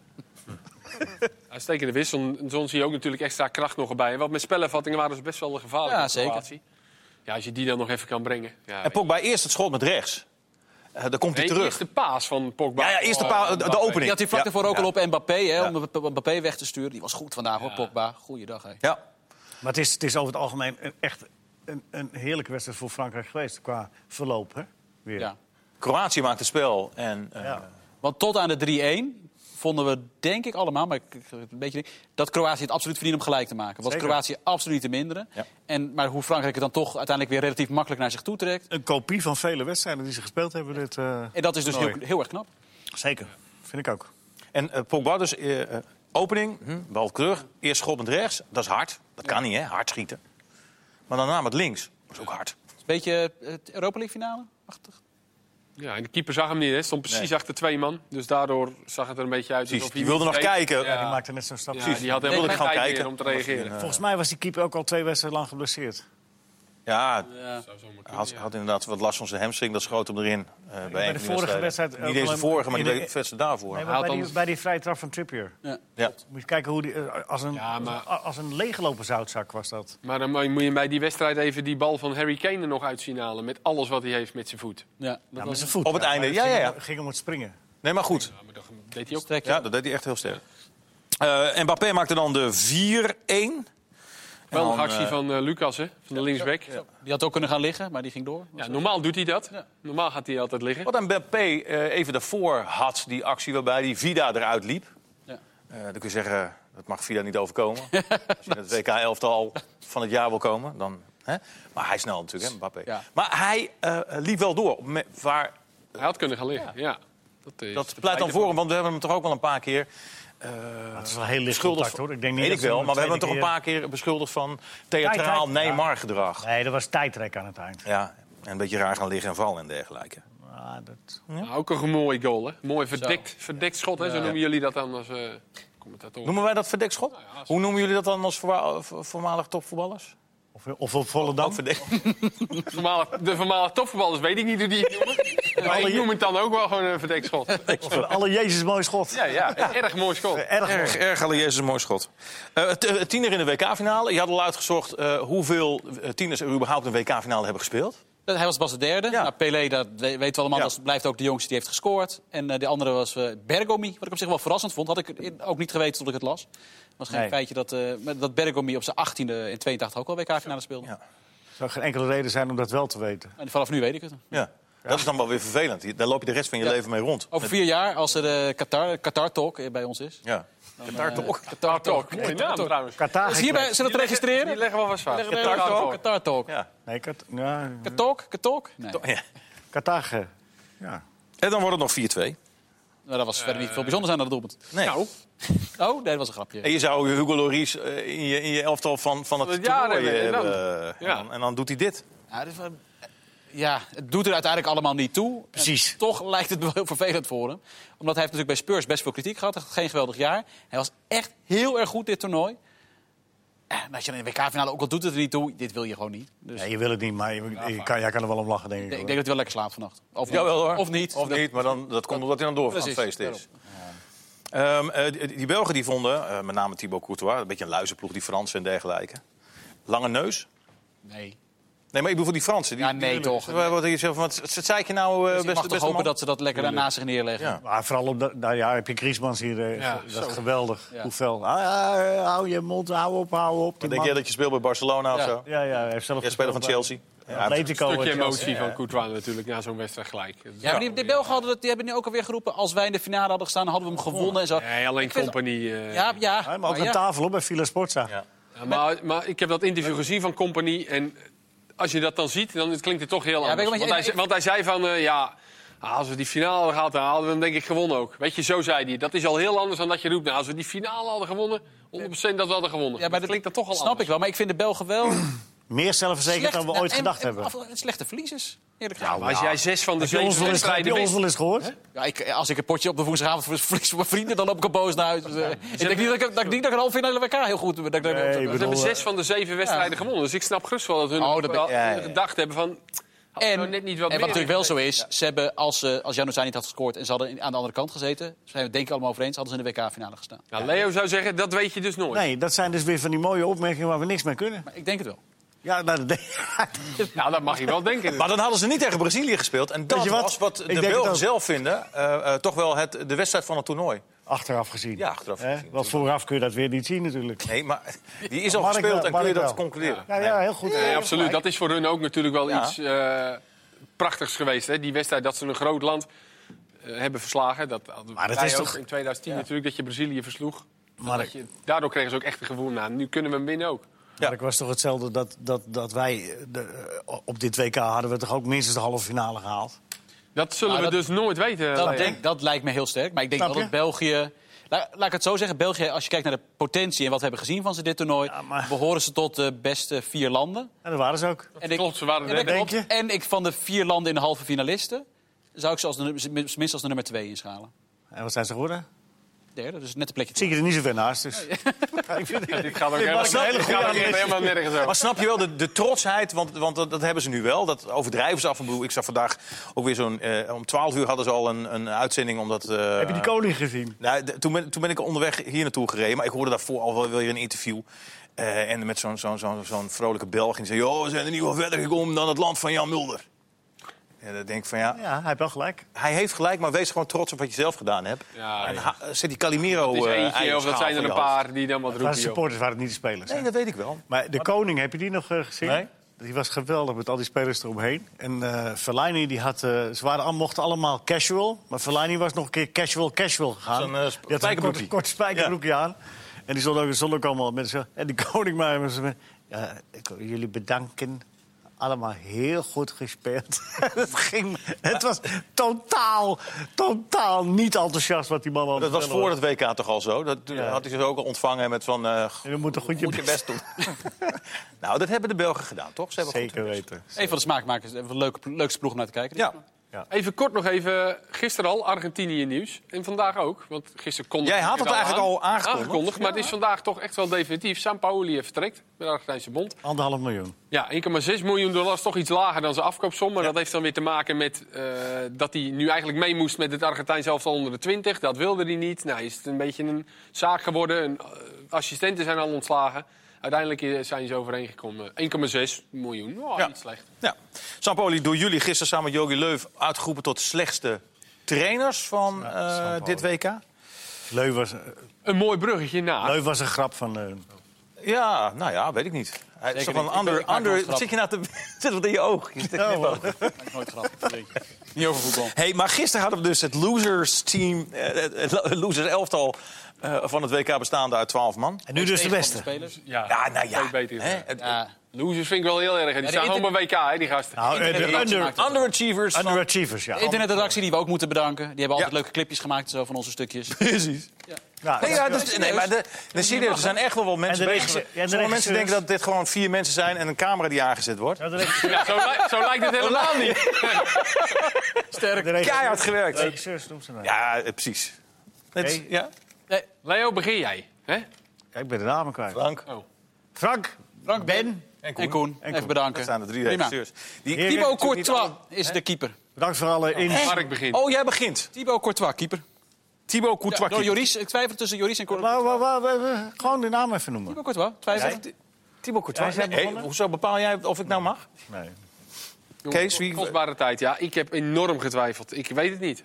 S2: Uitstekende wissel. Zon zie je ook natuurlijk extra kracht nog erbij. En wat met spellenvattingen waren ze best wel gevaarlijk.
S3: Ja,
S2: in de
S3: zeker.
S2: situatie. Ja, als je die dan nog even kan brengen. Ja,
S1: En Pogba eerst het schot met rechts. Eh, dan komt hij
S2: nee,
S1: terug.
S2: eerste paas van Pogba.
S1: Ja, ja, eerste
S2: Oh,
S1: paal, de- de
S2: Mbappé.
S1: opening.
S3: Die had hij vlak
S1: Ja.
S3: daarvoor ook
S1: Ja.
S3: al op Mbappé, hè, om Mb- Mbappé weg te sturen. Die was goed vandaag, hoor, Pogba. Goeiedag, hè.
S1: Ja.
S4: Maar het is, het is over het algemeen een, echt een, een heerlijke wedstrijd voor Frankrijk geweest. Qua verloop, hè? Weer.
S3: Ja.
S1: Kroatië maakt het spel. En, eh,
S4: Ja.
S3: Want tot aan de 3-1 vonden we denk ik allemaal, maar ik- ik- een beetje, denk- dat Kroatië het absoluut verdiende om gelijk te maken. Was
S4: Zeker.
S3: Kroatië absoluut te minderen.
S1: Ja.
S3: En, maar hoe Frankrijk het dan toch uiteindelijk weer relatief makkelijk naar zich toe trekt.
S4: Een kopie van vele wedstrijden die ze gespeeld hebben. Dit, eh,
S3: En dat is dus heel,
S4: toernooi.
S3: heel erg knap.
S4: Zeker, vind ik ook.
S1: En eh Pogba dus, eh, eh, opening,
S4: Mhm.
S1: hm, balkleur, eerst schop met rechts. Dat is hard. Dat kan niet, hè? Hard schieten. Maar daarna met links. Dat is ook hard.
S3: Beetje eh, het Europa League finale? Achtig.
S2: Ja, en de keeper zag hem niet. Hij stond precies
S1: Nee.
S2: achter twee man. Dus daardoor zag het er een beetje uit.
S1: Precies.
S2: alsof
S1: Die wilde
S2: niet
S1: nog
S2: deed.
S1: kijken.
S2: Ja,
S1: Ja,
S4: Die maakte net zo'n stap.
S2: Ja,
S1: precies.
S2: die had
S1: Die
S2: helemaal
S1: wilde
S2: geen
S1: gaan
S2: tijd
S1: kijken.
S2: meer om te reageren.
S4: Volgens mij was die keeper ook al twee wedstrijden lang geblesseerd.
S1: Ja,
S2: Zou zomaar
S1: hij
S2: kunnen,
S1: had,
S2: ja.
S1: had inderdaad wat last van zijn hamstring. Dat schoot hem erin. eh, bij, een
S4: de
S1: van
S4: vorige
S1: wedstrijden.
S4: wedstrijd ook
S1: Niet deze
S4: alleen-
S1: vorige, maar
S4: in
S1: die
S4: de-
S1: we- wedstrijd daarvoor.
S4: Nee,
S2: Haalt
S4: maar bij, die,
S2: anders.
S4: bij die vrije trap van Trippier.
S3: Ja.
S1: ja.
S4: Moet je kijken hoe die... eh, Als een,
S2: Ja, maar-
S4: als een leeggelopen zoutzak was dat.
S2: Maar dan moet je bij die wedstrijd even die bal van Harry Kane er nog uitzien halen. Met alles wat hij heeft met zijn voet.
S3: Ja.
S4: Ja, met zijn voet.
S1: Op het
S4: Ja,
S1: einde,
S4: maar
S1: ja,
S4: ging
S1: ja,
S4: om-
S1: ja.
S4: ging om het springen.
S1: nee, maar goed.
S2: Ja, maar dat deed hij ook.
S3: Trek je.
S1: Ja, dat deed hij echt heel sterk. Eh Mbappé maakte dan de 4-1. En
S2: Wel
S1: dan,
S2: een actie
S1: eh,
S2: van eh, Lucas, hè, van de linksback. Ja.
S3: Die had ook kunnen gaan liggen, maar die ging door.
S2: normaal doet hij dat. Normaal gaat hij altijd liggen.
S1: Wat Mbappé eh, even daarvoor had, die actie waarbij die Vida eruit liep.
S3: Ja.
S1: Eh, dan kun je zeggen, dat mag Vida niet overkomen. Als je in het WK-elftal van het jaar wil komen, dan... Hè? Maar hij is snel natuurlijk, hè, Mbappé.
S3: Ja.
S1: Maar hij eh, liep wel door. Me- waar,
S2: Hij had kunnen gaan liggen. Ja. Dat, is
S1: dat
S2: de
S1: pleit dan
S2: pleiten
S1: voor hem, want we hebben hem toch ook wel een paar keer... eh
S4: Dat is wel heel licht
S1: beschuldigd
S4: contact,
S1: van-
S4: hoor. Ik denk niet
S1: weet
S4: dat
S1: ik
S4: ze
S1: wel,
S4: hem
S1: maar we
S4: een
S1: hebben hem toch een
S4: tweede
S1: paar keer beschuldigd van theatraal
S4: Tijd, tijd.
S1: Neymar-gedrag.
S4: keer- Nee, dat was tijdrek aan het eind.
S1: Ja, en een beetje raar gaan liggen en vallen en dergelijke.
S4: Ah, dat...
S2: Maar Ook een mooie goal, hè? Mooi verdekt, verdekt schot, hè? Zo noemen jullie dat dan als eh commentator.
S1: Noemen wij dat verdekschot? Hoe noemen jullie dat dan als voorwa- vo- voormalig topvoetballers?
S4: Of, of op Volendam.
S1: [laughs] Ook verdek-
S2: Voormalig- de voormalige topvoetballers weet ik niet hoe die [laughs] het noemen. maar ik noem het dan ook wel gewoon een verdekt schot.
S4: Of een alle Jezus mooi schot.
S2: [laughs] ja, ja, een erg mooi schot.
S4: Erg mooi.
S1: Erg, erg, alle Jezus, een mooi schot. Eh, t- eh, tiener in de WK-finale. Je had al uitgezocht eh, hoeveel eh, tieners er überhaupt een WK-finale hebben gespeeld.
S3: Hij was pas de derde.
S1: Ja.
S3: Nou, Pelé, dat we- weten we allemaal,
S1: Ja.
S3: dat blijft ook de jongste die heeft gescoord. En eh de andere was eh, Bergomi, wat ik op zich wel verrassend vond. Had ik in- ook niet geweten tot ik het las. was geen
S4: Nee.
S3: feitje dat, eh, maar dat Bergomi op zijn 18e in 82 ook al WK-finale speelde.
S1: Ja.
S4: zou geen enkele reden zijn om dat wel te weten.
S3: En vanaf nu weet ik het.
S1: Ja. Oh. Dat is dan wel weer vervelend. Je- Daar loop je de rest van je
S3: Ja.
S1: leven mee rond.
S3: Over vier jaar, als er eh, Qatar, Qatar Talk eh, bij ons is. Eh,
S1: Ja. Qatar toch?
S3: Qatar
S2: Toch, mooie naam trouwens.
S4: Qatar
S3: Dus hierbij, zullen we het registreren?
S2: Die leggen we vast vast.
S3: Qatar Talk. Qatar Talk.
S1: Ja.
S4: Nee, Kat- ja,
S3: Katalk? Katalk? Nee.
S1: Ja.
S4: Qatar. ge- Ja.
S1: En dan wordt het nog 4-2.
S3: Nou, dat was verder
S2: Eh.
S3: niet veel bijzonders aan dat doelpunt.
S1: Nee.
S2: Nou,
S3: Oh, nee, dat was een grapje.
S1: En je zou Hugo Loris eh, in, je, in je elftal van, van het
S2: Van het jaar
S1: toernooi eh,
S2: hebben, en dan-
S1: hebben. En
S2: ja.
S1: dan- en dan doet hij dit.
S3: Ja, dit is wel- ja, het doet er uiteindelijk allemaal niet toe.
S4: Precies.
S3: En toch [laughs] lijkt het wel heel vervelend voor hem. Omdat hij heeft natuurlijk bij Spurs best veel kritiek gehad. Hij had geen geweldig jaar. Hij was echt heel erg goed dit toernooi. En als je dan in de WK-finale ook al doet het er niet toe, dit wil je gewoon niet. Dus
S4: Ja, je wil het niet, maar je, je kan, jij kan er wel om lachen, denk ik.
S3: ik denk
S4: hoor.
S3: dat hij wel lekker slaapt vannacht. Of, niet.
S1: Jawel hoor.
S3: Of niet.
S1: Of
S3: Dat-
S1: niet, maar dan, dat komt omdat hij dan door aan het
S3: Precies,
S1: feest is. Ehm, eh, die, die Belgen die vonden, eh, met name Thibaut Courtois, een beetje een luizenploeg, die Fransen en dergelijke. Lange neus.
S3: Nee.
S1: Nee, maar ik bedoel voor die Fransen. Die,
S3: Ja, nee,
S1: die-
S3: toch.
S1: Wat, wat, hier zegt, wat, wat zei ik je nou, eh,
S3: Dus ik mag
S1: beste,
S3: toch
S1: beste
S3: hopen
S1: man?
S3: dat ze dat lekker daarna zich neerleggen.
S1: Ja.
S4: Maar vooral op dat, nou ja, heb je Griezmanns hier. eh,
S2: Ja,
S4: dat
S2: zo.
S4: is geweldig.
S3: Ja.
S4: Hoe fel. Ah, ja, eh, hou je mond, hou op, hou op. die
S1: Denk jij
S4: man.
S1: dat je speelt bij Barcelona of
S3: Ja.
S1: zo?
S4: Ja, ja, hij heeft zelf
S1: Jij speler van
S4: gespeeld
S1: Chelsea.
S4: bij
S1: Ja,
S4: Atletico.
S2: stukje
S4: en Chelsea.
S2: emotie van Courtois natuurlijk na zo'n wedstrijd gelijk. Dat is
S3: Ja, maar die, die Belgen hadden het, die hebben nu ook alweer geroepen... als wij in de finale hadden gestaan, hadden we hem gewonnen en zo.
S2: Nee, alleen
S3: Ik vind-
S2: compagnie. eh.
S3: Ja, ja.
S4: Ja, maar ook
S3: maar ja.
S4: aan tafel hoor, bij Villa Sportza.
S1: Ja.
S2: Ja, maar, maar ik heb dat interview gezien van Company. En als je dat dan ziet, dan klinkt het toch heel
S3: weet
S2: anders.
S3: je wat je-
S2: want, hij,
S3: ik-
S2: ze- want hij zei van, eh, ja, ah, als we die finale hadden gehad, dan hadden we hem denk ik gewonnen ook. Weet je, zo zei hij. Dat is al heel anders dan dat je roept. Nou, als we die finale hadden gewonnen, 100% dat we hadden gewonnen.
S3: Ja, maar
S2: dat klinkt dan toch al
S3: Snap
S2: anders.
S3: ik wel, maar ik vind de Belgen wel...
S4: Meer zelfverzekerd
S3: Slecht-
S4: dan we
S3: nou,
S4: ooit
S3: en-
S4: gedacht
S3: en-
S4: hebben.
S3: of- en Slechte verliezers, eerlijk
S2: Ja,
S3: gezegd.
S2: maar als jij zes van de
S4: Heb je ons
S2: zeven
S4: wel eens- heb je
S2: wedstrijden
S4: ons
S2: wist...
S4: wel eens gehoord?
S3: Ja, ik, als ik een potje op de woensdagavond ver- verlies voor mijn vrienden, dan loop ik er boos naar huis. Dus, eh, ik denk niet dat ik, dat ik niet dat ik een halve finale WK heel goed... Dat ik, dat ik-
S4: Nee, ik
S2: Ze hebben
S4: bedoel,
S2: zes van de zeven wedstrijden gewonnen. Dus ik snap gerust wel dat hun
S3: Oh, dat ben-
S2: wel
S1: ja, ja.
S2: gedacht hebben van... hadden we
S3: En,
S2: nou net niet wat
S3: en
S2: meer
S3: wat natuurlijk wel zo is, ze hebben, als, ze als Januzaj niet had gescoord en ze hadden in- aan de andere kant gezeten, zijn we denk ik allemaal over eens, hadden ze in de WK-finale gestaan.
S2: Nou, Leo zou zeggen, dat weet je dus nooit.
S4: Nee, dat zijn dus weer van die mooie opmerkingen waar we niks mee kunnen.
S3: Maar ik denk het wel.
S4: Ja, nou, dat [laughs] denk-
S2: Nou, dat mag je wel
S3: [laughs]
S2: denken.
S1: Maar dan hadden ze niet tegen Brazilië gespeeld. En dat
S4: je wat?
S1: was wat
S4: Ik
S1: de
S4: denk het
S1: Belgen
S4: ook.
S1: zelf vinden, eh, eh, toch wel het, de wedstrijd van het toernooi.
S4: achteraf gezien.
S1: Ja, achteraf
S4: Hè?
S1: gezien,
S4: Want vooraf kun je dat weer niet zien natuurlijk.
S1: Nee, maar die is al
S4: Maar ik
S1: gespeeld
S4: wel,
S1: en
S4: maar
S1: kun je
S4: ik
S1: dat
S4: wel.
S1: concluderen.
S4: Ja, ja heel goed.
S2: Nee, absoluut. Dat is voor hun ook natuurlijk wel
S1: Ja.
S2: iets eh, prachtigs geweest. Hè? Die wedstrijd dat ze een groot land eh, eh, hebben verslagen. Dat hadden
S4: Maar dat
S2: wij
S4: is
S2: ook
S4: toch-
S2: in 2010 natuurlijk, dat je Brazilië versloeg.
S4: Maar
S2: Dat
S4: ik-
S2: je, daardoor kregen ze ook echt een gevoel, nou, nu kunnen we hem winnen ook.
S4: Maar ik was toch hetzelfde dat, dat, dat wij eh, de, eh, op dit WK hadden we toch ook minstens de halve finale gehaald.
S2: Dat zullen
S3: Nou,
S2: we
S3: dat-
S2: dus nooit weten.
S3: Dat,
S2: Leon.
S3: denk, dat lijkt me heel sterk. Maar ik denk
S4: Snap
S3: wel dat
S4: je?
S3: België. Laat, laat ik het zo zeggen. België, als je kijkt naar de potentie en wat we hebben gezien van ze dit toernooi.
S4: Ja, maar-
S3: behoren ze tot de beste vier landen.
S4: En dat waren ze ook.
S3: En ik,
S2: klopt, ze waren
S3: en
S2: er
S3: ik,
S4: net. Denk je?
S3: en ik van de vier landen in de halve finalisten. zou ik ze als de, nummer- minstens als de nummer twee inschalen.
S4: En wat zijn ze geworden?
S3: Derde, dus net een plekje.
S4: Zie je er niet zo ver naast. Dus. ik vind het
S2: Dit gaat ook helemaal,
S4: was wel een
S2: dit
S4: goede
S2: gaat ook
S4: analyse.
S2: helemaal nergens over.
S1: Maar snap je wel de, de trotsheid? Want, want dat, dat hebben ze nu wel. Dat overdrijven ze af en toe. Ik zag vandaag ook weer zo'n. eh, om 12 uur hadden ze al een, een uitzending. Omdat, eh,
S4: Heb je die koning gezien?
S1: Nou, de- toen, ben, toen ben ik onderweg hier naartoe gereden. Maar ik hoorde daarvoor al wel weer een interview. Eh, en met zo'n zo'n zo'n zo'n vrolijke Belg. En die zei: Joh, we zijn er niet wel verder gekomen dan het land van Jan Mulder. En dan denk ik van ja,
S4: Ja, hij heeft wel gelijk.
S1: hij heeft gelijk, maar wees gewoon trots op wat je zelf gedaan hebt.
S2: Ja,
S1: en
S2: ja.
S1: ha- zet die Calimero.
S2: Het is
S1: eh,
S2: eentje, of
S1: eierschaal
S2: dat zijn
S1: voor
S2: er
S1: je
S2: een
S1: hoofd.
S2: paar die dan wat
S4: Het waren
S2: roepen. joh.
S4: supporters, waren het niet de spelers. hè?
S1: Nee, dat weet ik wel.
S4: Maar de koning, heb je die nog eh, gezien?
S1: Nee.
S4: Die was geweldig met al die spelers eromheen. En eh Fellaini, die had, eh, ze waren, al- mochten allemaal casual. Maar Fellaini was nog een keer casual, casual gegaan.
S1: Zo'n, eh,
S4: Die had een
S1: spijkerbroekie.
S4: kort, kort spijkerbroekje aan. En die stond ook, stond ook allemaal met zo. En de [laughs] koning maar met zo- ja, ik wil jullie bedanken. Allemaal heel goed gespeeld. [laughs] het, ging, het was totaal, totaal niet enthousiast wat die man
S1: Dat was voor het WK toch al zo? Dat toen
S4: Ja.
S1: had hij zich ook al ontvangen met van... eh,
S4: En we moeten goed je
S1: moet je best doen. [laughs] nou, dat hebben de Belgen gedaan, toch? Ze hebben
S4: [laughs] Zeker weten.
S3: Een van de smaakmakers. Een van de leuke, leukste ploeg om naar te kijken.
S1: goed... Ja.
S2: Even kort nog even, gisteren al Argentinië nieuws. En vandaag ook, want gisteren kon
S1: Jij had het eigenlijk al aangekondigd.
S2: maar het is vandaag toch echt wel definitief. Sampaoli heeft vertrekt bij de Argentijnse bond.
S4: Anderhalf miljoen.
S2: Ja, 1,6 miljoen dollar is toch iets lager dan zijn afkoopsom. Maar dat heeft dan weer te maken met eh, dat hij nu eigenlijk mee moest met het Argentijnse elftal onder de 20. Dat wilde hij niet. Nou, is het een beetje een zaak geworden. Een, eh, assistenten zijn al ontslagen. Uiteindelijk eh, zijn ze overeengekomen. 1,6 miljoen. Oh,
S1: Ja.
S2: niet slecht.
S1: ja. Sampoli, door jullie gisteren samen met Jogi Leuf uitgeroepen tot slechtste trainers van eh,
S4: Sampaoli.
S1: dit WK?
S4: Leu was, eh,
S2: Een mooi bruggetje na.
S4: Leu was een grap van... eh,
S1: Ja, nou ja, weet ik niet. Hij is toch wel
S3: niet.
S1: een
S3: Ik-
S1: ander...
S3: ik maak wel
S1: ander
S3: een grap.
S1: wat zit je nou te... [laughs] zit wat in je oog? Je zit te knippen.
S3: Maakt nooit grappig.
S1: [laughs] dus
S3: Niet over voetbal.
S1: Hey, maar gisteren hadden we dus het losers team, eh, het lo- losers elftal eh, van het WK bestaande uit 12 man.
S4: En nu dus de
S3: Tegen
S4: beste.
S3: van de spelers.
S1: Ja, nou ja.
S2: Twee betere.
S1: hè, het-
S3: Ja.
S2: Losers vind ik wel heel erg. Die
S3: de
S2: staan gewoon bij WK, hè, die gasten.
S4: Nou, eh, de
S3: Internet-
S4: under,
S3: maakt het.
S1: Underachievers van-
S4: underachievers, ja.
S3: De internetredactie die we ook moeten bedanken. Die hebben altijd
S1: Ja.
S3: leuke clipjes gemaakt zo, van onze
S1: [laughs]
S3: stukjes.
S1: Precies.
S4: Ja,
S1: Nee,
S4: Nou, ja.
S1: ja, dat, nee, maar de, nee, serieus, er zijn echt wel wel mensen
S4: En de
S1: bezig.
S4: regisseur- ja, de
S1: Sommige mensen
S4: regisseurs-
S1: denken dat dit gewoon vier mensen zijn en een camera die aangezet wordt.
S4: Ja, de regisseur-
S2: Ja, zo, li- zo
S3: [laughs]
S2: lijkt het helemaal niet.
S4: de regisseur-
S1: Keihard
S4: De
S1: gewerkt.
S4: regisseurs noemt ze nou.
S1: Ja, eh, precies. Het,
S4: Oké.
S1: ja.
S3: Nee,
S2: Leo, begin jij. Hè?
S4: Ja, ik ben de namen kwijt.
S1: Frank.
S4: Frank,
S3: Frank
S4: Ben,
S3: en Koen.
S1: Koen.
S3: Even bedanken.
S1: Dat zijn de drie
S3: Prima.
S1: regisseurs. Die,
S4: Heerlijk.
S3: Thibaut
S1: natuurlijk niet
S3: Courtois is de keeper.
S4: bedankt voor alle ins.
S2: Mark begint.
S1: alle- Oh, jij begint.
S3: Thibaut Courtois, keeper.
S1: Thibaut
S3: Ja,
S1: Courtois.
S3: door Joris. Ik twijfel tussen Joris en Courtois.
S4: Wauw, wauw, wauw, wauw, wauw. Gewoon de naam even noemen.
S3: Thibaut Courtois, twijfel.
S1: Jij? Thibaut Courtois.
S4: Ja, jij
S1: Hey,
S4: begonnen?
S1: hoezo bepaal jij of ik nou mag?
S4: Nee.
S1: Kees, wie-
S2: Kostbare tijd, ja. Ik heb enorm getwijfeld. Ik weet het niet.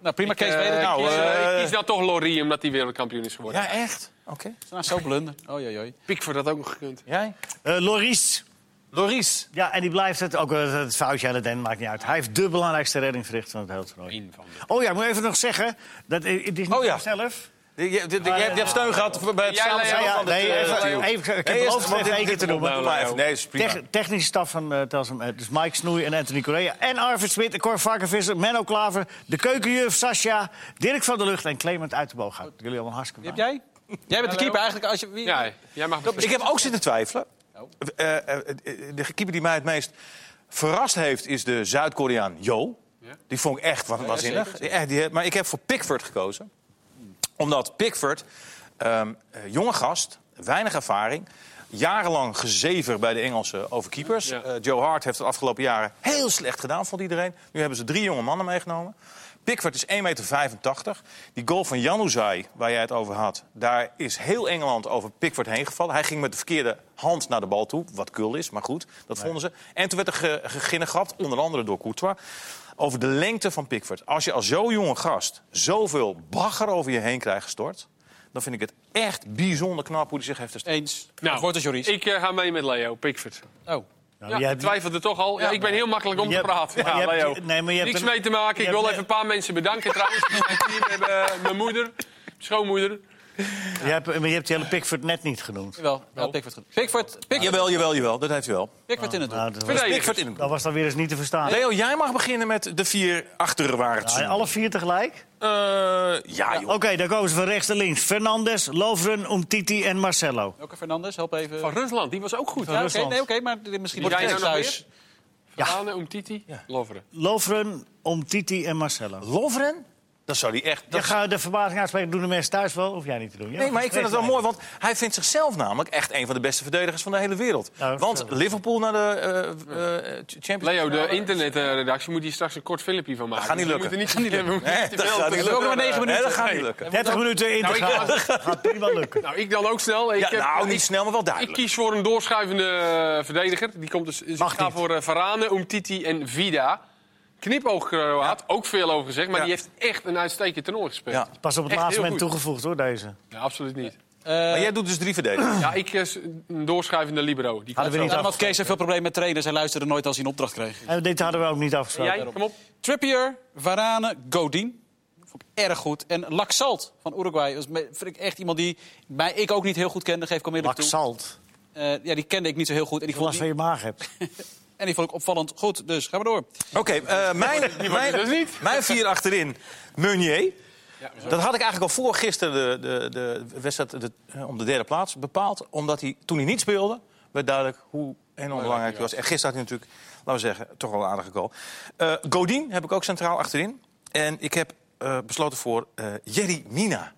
S3: Nou, prima, Kees. weet het.
S1: nou,
S2: Kies, eh,
S1: eh,
S2: ik kies nou toch Lorie, omdat hij wereldkampioen is geworden.
S1: Ja, echt? Oké.
S3: Nou, zo blunder. Oh, joi, joi.
S2: Pickford had ook nog gekund.
S1: Jij?
S4: Eh, Loris.
S1: Loris.
S4: Ja, en die blijft het. Ook eh, het foutje aan het end maakt niet uit. Hij heeft de belangrijkste redding verricht van het hele toernooi.
S2: Eén van
S4: Oh ja, ik moet even nog zeggen. Dat, eh, het is niet
S1: Oh ja.
S4: zelf.
S1: Je, je, je- je hebt- je hebt steun gehad bij het
S2: Jij,
S1: samenstellen
S4: Ja, ja,
S1: van de eh,
S4: nee, even, even, ik heb beloofd om het even één keer te noemen.
S1: Nee, is prima.
S4: Tech- technische staf van eh Telsum. eh, dus Mike Snoei en Anthony Correa. En Arvid Smit, en Cor Varkenvisser, Menno Klaver... de keukenjuf Sascha, Dirk van der Lucht en Clement uit de Booghout. Jullie allemaal hartstikke
S3: Wie heb
S4: bedankt.
S3: jij? Jij bent de keeper eigenlijk. Als je, wie,
S2: Ja, jij mag
S1: Ik
S2: beslissen.
S1: heb ook zitten twijfelen. Eh, eh, eh, de keeper die mij het meest verrast heeft is de Zuid-Koreaan Jo. Die vond ik echt wat waanzinnig. Die- echt, die, maar ik heb voor Pickford gekozen. Omdat Pickford, ehm, eh, jonge gast, weinig ervaring... Jarenlang gezever bij de Engelsen over keepers.
S2: Ja.
S1: Eh, Joe Hart heeft de afgelopen jaren heel slecht gedaan, vond iedereen. Nu hebben ze drie jonge mannen meegenomen. Pickford is 1,85 meter. Die goal van Januzaj, waar jij het over had... daar is heel Engeland over Pickford heen gevallen. Hij ging met de verkeerde hand naar de bal toe. Wat kul is, maar goed, dat vonden ze. En toen werd er ge- geginnegapt, onder andere door Courtois... over de lengte van Pickford. Als je als zo'n jonge gast zoveel bagger over je heen krijgt gestort... dan vind ik het echt bijzonder knap hoe hij zich heeft hersteld.
S3: Eens.
S2: Nou,
S3: Nou, wordt het Joris.
S2: Ik eh, ga mee met Leo, Pickford.
S3: Oh.
S4: Nou,
S2: Ja,
S4: jij
S2: ik
S4: hebt-
S2: twijfelde toch al. Ja, ik ben heel makkelijk om te
S4: je hebt-
S2: praten.
S4: maar
S2: Ja,
S4: je hebt-
S2: Leo.
S4: nee, maar je hebt
S2: Niks
S4: een-
S2: mee te maken.
S4: je
S2: Ik wil
S4: hebt-
S2: even een paar mensen bedanken trouwens. Mijn team, eh, mijn moeder, schoonmoeder.
S4: je hebt, maar je hebt de hele Pickford net niet genoemd.
S3: Jawel,
S2: Nou.
S3: wel Pickford. genoemd. Pickford, Pickford,
S1: Jawel, jawel, jawel. Dat heeft u wel.
S3: Pickford
S2: Ah,
S3: in het doel.
S4: Nou, dat, was,
S2: Verdedigers.
S1: Pickford in het
S4: dat was dan weer eens niet te verstaan.
S1: Leo, jij mag beginnen met de vier achterwaarts.
S4: Nou, alle vier tegelijk?
S1: Eh, ja, joh.
S4: Oké, daar komen ze van rechts naar links. Fernandes, Lovren, Umtiti en Marcelo.
S3: Elke Fernandes, help even.
S2: Van Rusland, die was ook goed.
S3: ja, oké,
S4: Rusland.
S3: nee, oké, maar dit- misschien
S2: Wie
S3: wordt het
S2: zijn
S3: thuis.
S2: er nog Verhalen, Umtiti, Loveren.
S4: Lovren, Umtiti en Marcelo.
S1: Lovren? Dat zou die echt...
S4: Je
S1: Dat...
S4: gaat de verbazing aanspreken. Doen de mensen thuis wel? Of jij niet te doen? Ja,
S1: Nee, maar ik vind het wel
S4: nee.
S1: mooi, want hij vindt zichzelf namelijk echt een van de beste verdedigers van de hele wereld.
S4: Nou,
S1: Want
S4: zo.
S1: Liverpool naar de eh, eh, Champions
S2: Leo, de
S1: finale-
S2: internetredactie moet hier straks een kort filmpje van maken. Dus
S1: gaat niet
S2: We
S1: lukken.
S2: moeten niet- we moeten
S1: Nee,
S2: niet te
S1: dat
S2: veel-
S1: gaat niet
S3: hebben
S1: lukken.
S3: ook nog maar negen
S1: Nee,
S3: minuten.
S1: dat gaat niet lukken.
S4: 30 minuten in te
S2: Nou, ik-
S4: gaan. Gaat prima lukken.
S2: Nou, ik dan ook snel. Ik,
S1: Ja,
S2: heb-
S1: nou, niet
S2: ik-
S1: snel, maar wel
S2: ik
S1: duidelijk.
S2: kies voor een doorschuivende eh, verdediger. Die komt dus. dus ik
S4: Mag
S2: ga
S4: niet.
S2: voor eh, Varane, Umtiti en Vida. Knipoogkroaat, ook veel over gezegd, maar
S1: Ja.
S2: die heeft echt een uitstekend toernooi gespeeld.
S1: Ja.
S2: Ja.
S4: Pas op het
S2: Echt
S4: laatste
S2: heel
S4: moment
S2: goed.
S4: toegevoegd hoor, deze.
S2: absoluut niet.
S1: Maar jij doet dus drie verdedigers.
S2: Ja, ik eh, s- een doorschuivende libero. Die
S4: Hadden we niet
S3: Daarom had
S4: af...
S3: Kees zoveel problemen met trainers. Hij luisterde nooit als hij een opdracht kreeg.
S4: En dit hadden we ook niet
S2: En
S4: afgesproken.
S2: Jij, kom op.
S3: Trippier, Varane, Godin. Vond ik erg goed. En Laxalt van Uruguay. Dat is me- vind ik echt iemand die mij ik ook niet heel goed kende. Geef ik al eerlijk toe.
S4: Laxalt.
S3: Eh, ja, die kende ik niet zo heel goed. En die,
S4: Ik last
S3: vond die,
S4: van je maag
S2: [laughs]
S4: hebt.
S3: en die vond ik opvallend goed. Dus gaan we door.
S1: Oké, eh, mijn, mijn,
S2: dus niet.
S1: mijn vier achterin. Meunier.
S2: Ja, we zijn-
S1: Dat had ik eigenlijk al voor gisteren de, de, de wedstrijd de- eh, om de derde plaats bepaald. Omdat hij, toen hij niet speelde, werd duidelijk hoe enorm belangrijk hij was. En gisteren had hij natuurlijk, laten we zeggen, toch wel een aardige goal. Eh, Godin heb ik ook centraal achterin. En ik heb eh, besloten voor eh Jerry Mina,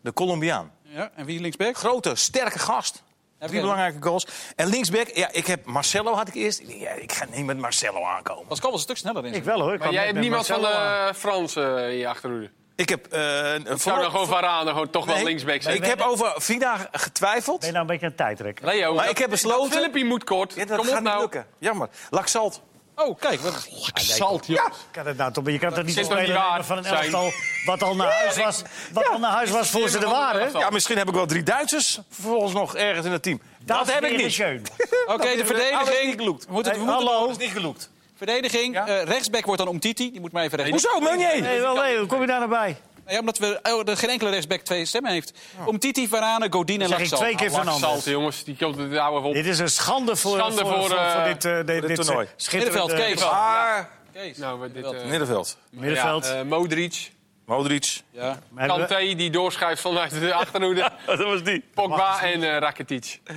S1: de Colombiaan.
S3: Ja, en wie linksback?
S1: Grote, sterke gast. Drie
S3: Oké.
S1: belangrijke goals. En linksback, ja, ik heb Marcelo had ik eerst. Ik denk, Ja, ik ga niet met Marcelo aankomen.
S3: Pascal was een stuk sneller in.
S4: Ik
S3: zijn.
S4: wel hoor. Ik
S2: Maar
S4: kwam
S2: jij
S4: net
S2: hebt niemand
S4: met
S2: van
S4: Marcelo aan.
S2: de Frans eh, in je achterhoede.
S1: Ik heb... eh, een-
S2: Zou dan
S1: voor-
S2: gewoon Varane gewoon toch wel
S1: Nee,
S2: linksback zijn?
S1: Ik heb over Vida
S4: Ben
S1: getwijfeld.
S4: je nou een beetje een tijdrek?
S2: Leo,
S1: Maar
S2: dat-
S1: ik heb besloten-
S2: dat filmpje moet kort.
S1: Ja, dat
S2: kom
S1: gaat
S2: op
S1: niet
S2: nou.
S1: lukken. Jammer. Laxalt.
S3: Oh, kijk. wat-
S2: Zalt, joh.
S4: Kan het nou toch, je kan toch niet
S2: is toch niet
S4: spelen
S2: waar
S4: van een
S2: zijn?
S4: elftal wat al naar huis was, wat al naar huis was voor ze er waren?
S1: Ja, misschien heb ik wel drie Duitsers vervolgens nog ergens in het team. Dat, heb ik niet.
S4: Schön.
S3: Oké, de
S1: Alles niet
S3: verdediging.
S1: geloekt.
S3: We moeten, we
S4: Hey,
S3: moeten-
S4: hallo.
S1: niet gelukt.
S3: Verdediging.
S1: Ja.
S3: eh, rechtsback wordt dan Omtiti. Die moet maar even rechts.
S1: Hoezo, Meunier?
S4: Hey, wel, hey, hoe kom je daar nou bij?
S3: Ja, omdat we, oh, er geen enkele rechtsback twee stemmen heeft. Omtiti, Varane, Godin en
S4: Zeg ik
S3: Laxalt.
S4: twee keer
S2: Zalt,
S4: Fernandes.
S2: Oh, jongens. Die komt het nou even op.
S4: Dit is een schande voor,
S2: Schande
S4: voor,
S2: voor,
S4: voor,
S2: eh,
S4: voor dit, eh, dit,
S1: dit
S4: dit
S1: toernooi.
S4: schitterende-
S3: Middenveld, Kees.
S1: eh, Maar...
S3: Kees.
S2: Nou, we- dit, eh,
S1: Ah, Middenveld.
S4: Middenveld.
S2: Ja, eh, Modric.
S1: Modric.
S3: ja.
S4: Hebben we-
S2: Kanté die doorschuift vanuit de
S4: [laughs]
S2: achterhoede.
S1: Oh, Dat was die.
S2: Pogba en eh, Rakitic.
S1: Oh,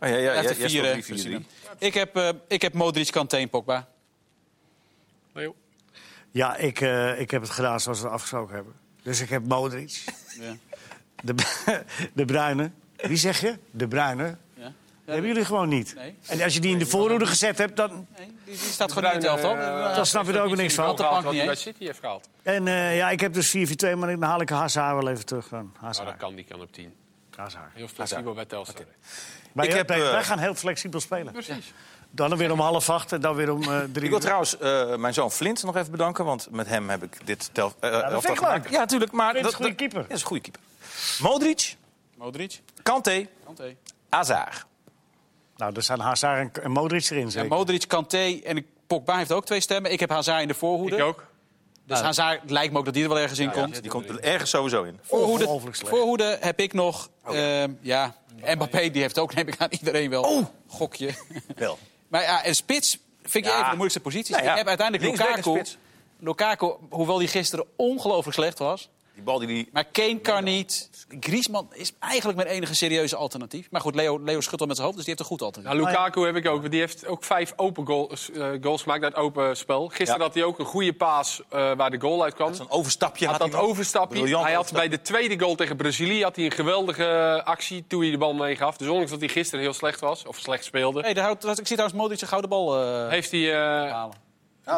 S1: ja, ja, ja,
S3: Hij
S1: jij
S3: heeft er
S1: speelt
S3: vier, eh,
S1: 3-4-3.
S3: voorzien. Ik heb, eh, ik heb Modric, Kanté en Pogba.
S2: Leo.
S4: Ja, ik, eh, ik heb het gedaan zoals we afgesproken hebben. Dus ik heb
S3: [laughs]
S4: Modric.
S3: Ja.
S4: De, de Bruine. Wie zeg je? De Bruine.
S3: Ja.
S4: Die hebben jullie gewoon niet.
S3: Nee.
S4: En als je die in de voorhoede gezet hebt, dan,
S3: Nee, die, die staat gewoon niet in het elftal.
S2: eh,
S4: dan snap je er ook niks
S3: Had
S4: van.
S3: de bank
S2: Wat
S3: niet
S2: hij bij
S3: eens.
S2: City heeft gehaald.
S4: En eh, ja, ik heb dus 4-4-2, maar dan haal ik Hazard wel even terug. Dan.
S2: Nou, dat
S4: Hazard.
S2: kan, die kan op 10.
S4: Hazard.
S2: Heel flexibel bij Telstar.
S4: Maar
S1: Ik
S4: ja,
S1: heb,
S4: wij-
S1: eh,
S4: wij gaan heel flexibel spelen.
S2: Precies.
S4: Dan weer om half acht en dan weer om eh, drie
S1: Ik wil
S4: uur.
S1: trouwens eh, mijn zoon Flint nog even bedanken, want met hem heb ik dit tel, eh, elftal
S4: vind ik
S1: gemaakt.
S4: leuk.
S1: Ja, natuurlijk. Maar
S4: Flint is een
S1: dat-
S4: goede
S1: dat-
S4: keeper.
S1: Ja, is een goede keeper. Modric,
S3: Modric,
S1: Kanté,
S3: Kanté.
S1: Azar.
S4: Nou, er zijn Hazard en, en Modric erin
S3: Ja,
S4: zeker.
S3: Modric, Kanté en Pogba heeft ook twee stemmen. Ik heb Hazard in de voorhoede.
S2: Ik ook.
S3: Dus Hazard lijkt me ook dat die er wel ergens in komt.
S1: Die komt er ergens sowieso in.
S3: Voorhoede,
S4: Ongelooflijk slecht.
S3: voorhoede heb ik nog. ehm, ja. Mbappé die heeft ook, neem ik aan, iedereen wel.
S1: Oh!
S3: Gokje.
S1: Wel.
S3: maar ja, en spits vind je
S1: Ja.
S3: even de moeilijkste posities.
S1: Nou ja,
S3: Ik heb uiteindelijk
S1: linksback en
S3: Lukaku.
S1: spits.
S3: Lukaku, hoewel die gisteren ongelooflijk slecht was.
S1: Die bal die die
S3: Maar Kane kan niet. Griezmann is eigenlijk mijn enige serieuze alternatief. Maar goed, Leo, Leo schudt al met zijn hoofd, dus die heeft een goed alternatief.
S2: Nou,
S4: Ah,
S2: Lukaku heb ik ook. want Die heeft ook vijf open goals, eh, goals gemaakt uit open spel. Gisteren
S1: Ja.
S2: had hij ook een goede paas eh, waar de goal uit kwam.
S1: Zo'n overstapje
S2: had
S1: had,
S2: dat
S1: hij nog.
S2: overstapje.
S1: Briljant
S2: Hij had
S1: overstapje.
S2: bij de tweede goal tegen Brazilië had hij een geweldige actie toen hij de bal meegaf. Dus ondanks dat hij gisteren heel slecht was, of slecht speelde,
S3: Hey, daar houdt, ik zie trouwens Modric een gouden bal eh,
S2: heeft hij eh
S3: halen.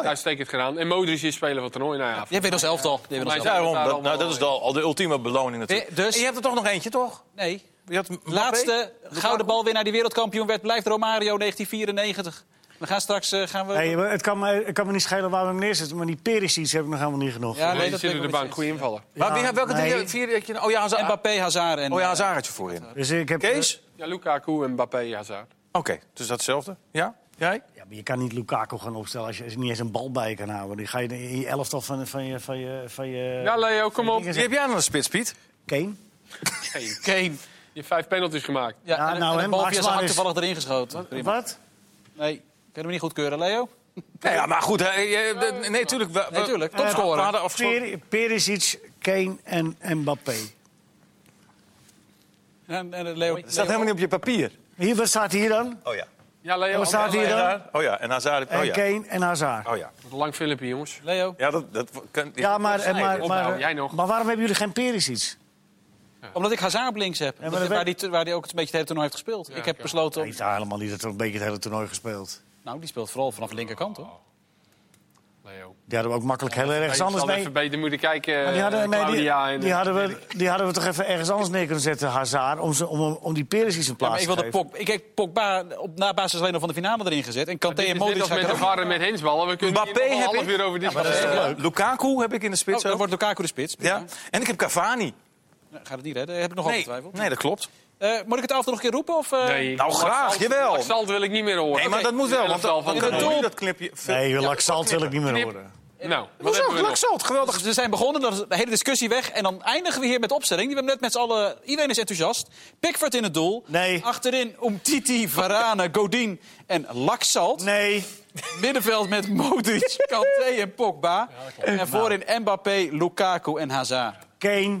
S2: uitstekend gedaan. En Modric is speler van het toernooi. Nou ja,
S3: Jij weet als elftal. Jij weet ons
S2: Volgens mij
S1: Daarom,
S3: elftal.
S2: Daarom
S1: dat, nou, dat is
S2: wel.
S1: al, al de ultieme beloning natuurlijk.
S3: Eh, dus-
S1: En je hebt er toch nog eentje, toch?
S3: Nee.
S1: Je had Mbappé?
S3: Laatste gouden balwinnaar die wereldkampioen werd blijft Romario 1994. We gaan straks eh, gaan we.
S4: Hey, maar het, kan me, het kan me niet schelen waar we hem neerzetten, maar die Perisic heb ik nog helemaal niet genoeg.
S3: Ja,
S2: Ja,
S3: nee,
S2: die
S3: dat
S2: zit
S3: ben
S2: op
S3: ik
S2: de
S3: wel
S2: bank.
S3: met
S2: Goede invaller.
S1: Maar wie,
S4: Ja,
S1: welke
S4: nee.
S1: drie heb- vier heb je? Oh ja, Hazard.
S3: Mbappé, Hazard en.
S1: Oh ja,
S3: eh,
S1: Hazard had je voorin. Oké,
S4: Dus ik heb,
S1: Kees?
S2: Ja, Lukaku en Mbappé Hazard.
S1: dus dat is hetzelfde. Ja? Jij?
S4: Ja, maar je kan niet Lukaku gaan opstellen als je niet eens een bal bij je kan houden. Die ga je in je elftal van, van je... Van je, van je
S2: Ja, Leo, kom op.
S1: Wie heb jij aan de spits, Piet?
S4: Kane?
S3: Kane.
S2: Je hebt vijf penalties gemaakt.
S3: Ja,
S4: Ja,
S3: en,
S4: nou,
S3: nou, en
S4: hè,
S3: de bal
S4: Max
S3: via zijn
S4: Maan
S3: hak
S4: is-
S3: toevallig erin geschoten. Prima.
S4: Wat?
S3: Nee, kunnen we niet goedkeuren, Leo?
S1: Nee, ja, maar goed. hè, eh, je- de- nee, tuurlijk. we- we-
S3: Nee, tuurlijk.
S1: We
S3: Topscorer.
S1: hadden afgesproken.
S4: Per- Perisic, Kane en Mbappé.
S3: En, en Leo, Leo-
S1: Het staat helemaal niet op je papier.
S4: Hier, wat staat hier dan?
S1: Oh ja.
S2: Ja, Leo.
S4: Wat staat hier dan?
S1: Oh ja, en Hazard.
S4: En
S1: Oh ja.
S4: Kane en Hazard.
S1: Oh ja.
S2: Wat een Lang filmpje, jongens.
S3: Leo,
S1: Ja, dat, dat kan,
S4: Ja, maar, en maar, maar,
S2: Ophouden, jij nog.
S4: maar waarom hebben jullie geen Perisic?
S3: omdat ik Hazard op links heb.
S4: maar dat
S3: waar,
S4: weet-
S3: die, waar die ook het een beetje het hele toernooi heeft gespeeld. ik heb besloten...
S4: Hij
S3: om-
S4: heeft daar helemaal niet het een beetje het hele toernooi gespeeld.
S3: Nou, die speelt vooral vanaf de linkerkant,
S4: Oh,
S3: hoor.
S2: Leo.
S4: Die hadden we ook makkelijk heel ergens
S2: Ik
S4: anders
S2: zal
S4: mee.
S2: even beter moeten kijken.
S4: Maar die hadden,
S2: eh,
S4: nee, die,
S2: Claudia en-
S4: die, hadden we, die hadden we toch even ergens anders neer kunnen zetten, Hazard, om, ze, om, om die Perisic een
S3: Ja,
S4: plaats
S3: maar ik
S4: te
S3: wilde
S4: geven.
S3: Pogba, ik heb Pogba op, na basis alleen nog van de finale erin gezet. En Kanté
S2: Dit is
S3: en
S2: net
S3: Modric
S2: als
S3: ga ik
S2: met de
S3: er ook-
S2: VAR en met hensballen. We kunnen
S1: Mbappé
S2: hier nog een
S1: heb
S2: half
S1: ik.
S2: uur over discussiëren.
S1: Eh, Lukaku heb heb ik in de
S3: Oh,
S1: spits
S3: dan
S1: ook.
S3: wordt Lukaku de spits.
S1: Ja. En ik heb Cavani.
S3: Nou, Gaat het niet redden? Heb ik nog
S1: Nee,
S3: altijd twijfel.
S1: nee, dat klopt.
S3: Eh, moet ik het af en toe nog een keer roepen? Of, eh,
S2: Nee,
S1: Nou,
S2: Max
S1: graag,
S2: Alt-
S1: jawel.
S2: Max Alt wil ik niet meer horen.
S1: Nee, maar dat moet wel. Want
S2: Elftal
S1: dan dan
S2: van de
S1: kunnen we
S3: Tour.
S1: nu dat knipje...
S4: Nee, Laxalt wil ik niet meer
S2: knip.
S4: horen.
S2: Nou, wat
S1: Hoezo?
S2: hebben we nog?
S1: Laxalt, geweldig.
S3: Dus we zijn begonnen, dan is de hele discussie weg. En dan eindigen we hier met opstelling. Die we hebben net met z'n allen... Iedereen is enthousiast. Pickford in het doel.
S4: Nee.
S3: Achterin Umtiti, Varane, Godin en Laksalt.
S4: Nee,
S3: Middenveld met Modric, Kanté en Pogba. en voorin Mbappé, Lukaku en Hazard.
S4: Kane.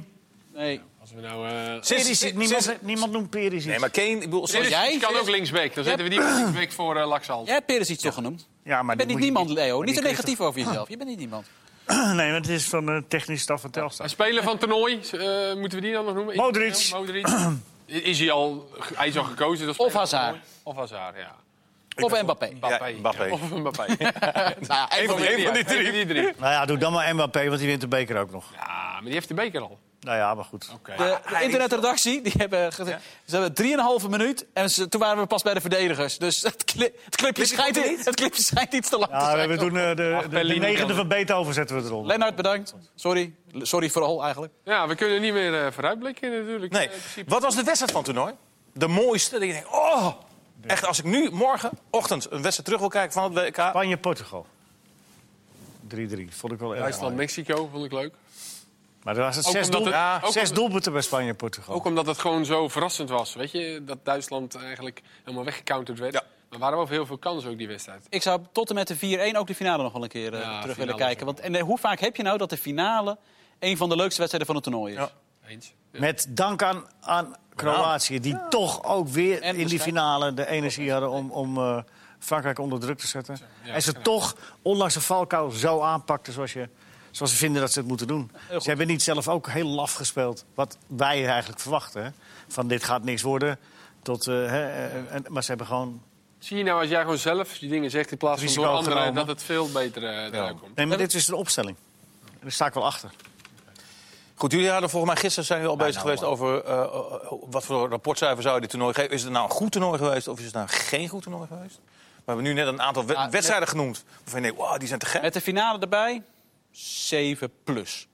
S3: Nee.
S2: Als we nou... eh,
S4: Perisic, niemand,
S1: sinds-
S4: niemand noemt Perisic.
S1: Nee, maar Kane... Ik bedoel,
S2: Perisic
S1: sinds-
S3: jij?
S2: kan
S3: Perisic-
S2: ook linksback. Dan zetten we die op linksback voor eh, Laxalt.
S3: Jij hebt Perisic toch genoemd?
S4: ja, maar
S3: Je bent
S4: die
S3: niet
S4: moet
S3: niemand, Leo.
S4: maar
S3: Niet
S4: die
S3: te
S4: kreeg
S3: negatief over
S4: [laughs]
S3: jezelf. Je bent niet niemand.
S4: toch- Nee, want het is van de technische staf van Telstar.
S2: Een speler van toernooi, eh, moeten we die dan nog noemen?
S4: Modric.
S2: Modric. Is hij al, hij is al gekozen? als
S3: Of
S2: speler van
S3: Hazard.
S2: toernooi? Of Hazard, ja.
S3: Of
S4: [laughs]
S3: Mbappé.
S2: Mbappé.
S1: Ja, Mbappé.
S2: Of
S1: [laughs]
S2: een Mbappé.
S3: Nou,
S1: Eén van die- één van die
S2: Eén van
S1: drie.
S2: die drie.
S4: Nou ja, doe dan maar Mbappé, want die wint de beker ook nog.
S2: Ja, maar die heeft de beker al.
S4: Nou ja, maar goed.
S2: Oké.
S3: De, de internetredactie, die hebben, ge- ze hebben 3,5 minuut. En ze- toen waren we pas bij de verdedigers. Dus [laughs] het, cli- het, clipje, schijnt, het clipje schijnt iets te lang te
S4: Ja,
S3: zijn.
S4: we doen eh, de,
S2: Ach,
S4: de, de
S2: Bellini
S4: negende
S2: kan
S4: van Beethoven zetten we eronder.
S3: Lennart, bedankt. Sorry. L- Sorry vooral eigenlijk.
S2: Ja, we kunnen niet meer eh, vooruitblikken natuurlijk.
S1: Nee.
S2: eh, in principe.
S1: Wat was de wedstrijd van het toernooi? De mooiste. Dat je denkt, oh... Echt, als ik nu morgenochtend een wedstrijd terug wil kijken van het WK...
S4: Spanje-Portugal. 3-3, vond ik wel erg mooi.
S2: Duitsland-Mexico vond ik leuk.
S4: Maar er was het
S2: Ook
S4: zes,
S2: omdat
S4: doelpun-
S2: het- ja, ook
S4: zes
S2: omdat-
S4: doelpunten bij Spanje-Portugal.
S2: Ook omdat het gewoon zo verrassend was. Weet je, dat Duitsland eigenlijk helemaal weggecounterd werd.
S1: Ja.
S2: Maar waarom over heel veel kansen ook die wedstrijd?
S3: Ik zou tot en met de 4-1 ook de finale nog wel een keer
S2: Ja,
S3: eh, terug
S2: finale
S3: willen
S2: is
S3: kijken.
S2: ook
S3: Want, en eh, hoe vaak heb je nou dat de finale een van de leukste wedstrijden van het toernooi is?
S1: Ja.
S2: Eens.
S4: Met dank aan, aan Kroatië, die toch ook weer
S3: En
S4: in die
S3: beschik-
S4: finale de energie hadden om, om eh, Frankrijk onder druk te zetten. en ze toch, ondanks de Falcao, zo aanpakten zoals, je, zoals ze vinden dat ze het moeten doen. Ze hebben niet zelf ook heel laf gespeeld, wat wij eigenlijk verwachten. hè. Van dit gaat niks worden, tot, eh, hè, eh, en- maar ze hebben gewoon...
S2: Zie je nou als jij gewoon zelf die dingen zegt in plaats van
S4: Risico
S2: door anderen...
S4: genomen.
S2: dat het veel beter eh, eruit komt?
S4: Nee, maar dit is de opstelling. Daar sta ik wel achter.
S1: Goed, jullie hadden volgens mij gisteren zijn jullie al bezig geweest over eh, eh, wat voor rapportcijfer zou je dit toernooi geven. Is het nou een goed toernooi geweest of is het nou geen goed toernooi geweest? We hebben nu net een aantal we-
S3: Ah, net-
S1: wedstrijden genoemd waarvan je denkt, wow, die zijn te gek.
S3: Met de finale erbij, 7 plus.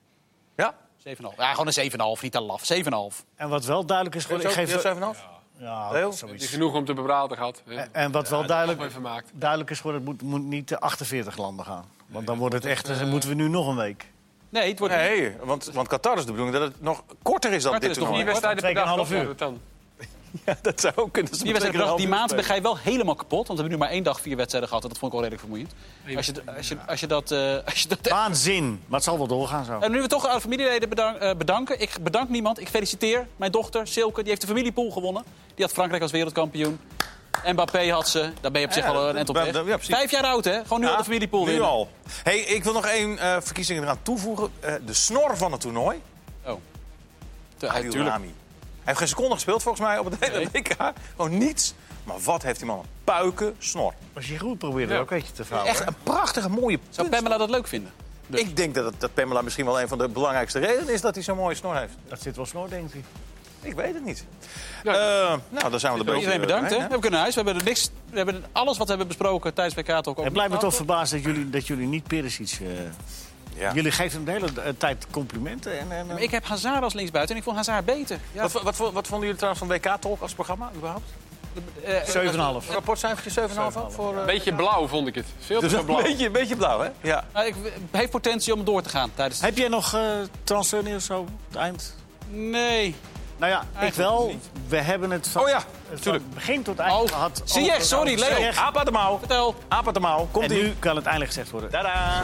S1: Ja?
S3: 7,5. Ja, gewoon een 7,5, niet een laf. 7,5.
S4: En wat wel duidelijk is
S1: Geef
S4: geworden... Ik geef,
S1: even af.
S4: ja,
S1: Leo?
S2: Het
S4: zoiets.
S2: is genoeg om te bepraten gehad. hè?
S4: En-
S2: Ja,
S4: En wat wel
S2: dat hebben
S4: duidelijk...
S2: we even gemaakt.
S4: duidelijk is geworden, het moet, moet niet de 48 landen gaan. Want dan wordt het echt, dan moeten we nu nog een week.
S3: Nee, het wordt niet.
S1: Nee, want, want Qatar is de bedoeling dat het nog korter is dan
S3: Korter
S1: dit
S3: is nog
S1: toernooi.
S2: Die wedstrijden
S4: Twee
S2: per
S4: keer
S2: dag,
S4: een half
S2: toch?
S4: uur.
S2: Ja, dat dan.
S1: Ja, [laughs] dat zou ook kunnen. Dat is meteen
S3: Die wedstrijd
S1: een half
S3: die
S1: uur
S3: maand ben
S1: spelen.
S3: jij wel helemaal kapot. Want we hebben nu maar één dag vier wedstrijden gehad. En dat vond ik al redelijk vermoeiend. Als je, als je, als je dat... eh, [laughs] als je dat
S4: Waanzin. Maar het zal wel doorgaan zo.
S3: en nu we toch alle familieleden bedank- eh, bedanken. Ik bedank niemand. Ik feliciteer mijn dochter Silke. Die heeft de familiepool gewonnen. Die had Frankrijk als wereldkampioen. Mbappé had ze. Daar ben je op zich
S1: Ja,
S3: al een
S1: dat-
S3: end op
S1: dat-
S3: weg.
S1: dat- ja, precies.
S3: Vijf jaar oud, hè? Gewoon nu al de familiepool
S1: nu
S3: winnen.
S1: al. Hey, ik wil nog één eh, verkiezing eraan toevoegen. Eh, de snor van het toernooi.
S3: Oh. Te- eh,
S1: Adil
S3: tuurlijk.
S1: Rami. Hij heeft geen seconde gespeeld volgens mij op het hele WK. Gewoon niets. Maar wat heeft die man een puiken snor.
S4: Als je goed probeert, er ook eentje te vouwen.
S1: Echt een prachtige mooie punt.
S3: Zou Pamela dat leuk vinden?
S1: Ik denk dat, het- dat Pamela misschien wel een van de belangrijkste redenen is dat hij zo'n mooie snor heeft.
S4: Dat zit wel snor, denkt hij.
S1: Ik weet het niet.
S2: Ja.
S1: Eh, nou, daar zijn we er eh, beetje
S3: Iedereen bedankt, hè?
S1: doorheen,
S3: We hebben kunnen naar huis. We hebben, er niks, we hebben alles wat we hebben besproken tijdens WK toch ook
S4: Het blijft me
S3: opgehaald.
S4: toch verbaasd dat jullie, dat jullie niet Perisic... eh
S1: Ja.
S4: Jullie geven hem de hele eh, tijd complimenten. En, en,
S3: Maar Ik heb Hazard als linksbuiten en ik vond Hazard beter. Ja,
S1: Wat, wat, wat vonden jullie trouwens van WK Talk als programma überhaupt?
S3: eh,
S4: 7,5.
S1: Rapportcijfertje 7,5 ook voor... eh,
S2: Beetje blauw vond ik het. Veel te
S1: dus
S2: veel
S1: een
S4: [laughs]
S2: blauw.
S1: beetje, een beetje blauw, hè? Ja.
S3: nou, ik, heeft potentie om door te gaan tijdens.
S4: Heb jij nog eh transfernieuws zo op het eind?
S3: Nee.
S4: Nou ja, ik wel. We hebben het van,
S1: Oh ja,
S4: het van
S1: tuurlijk. Oh,
S4: begin tot eind
S3: Oh,
S4: gehad.
S3: zie je,
S4: over-
S3: sorry,
S4: over-
S3: Leo.
S4: Ziyech.
S1: Aap uit de mouw.
S3: Vertel.
S1: Aap uit de mouw.
S4: En
S1: Komt ie.
S4: nu kan het eindelijk gezegd worden.
S1: Tadaa.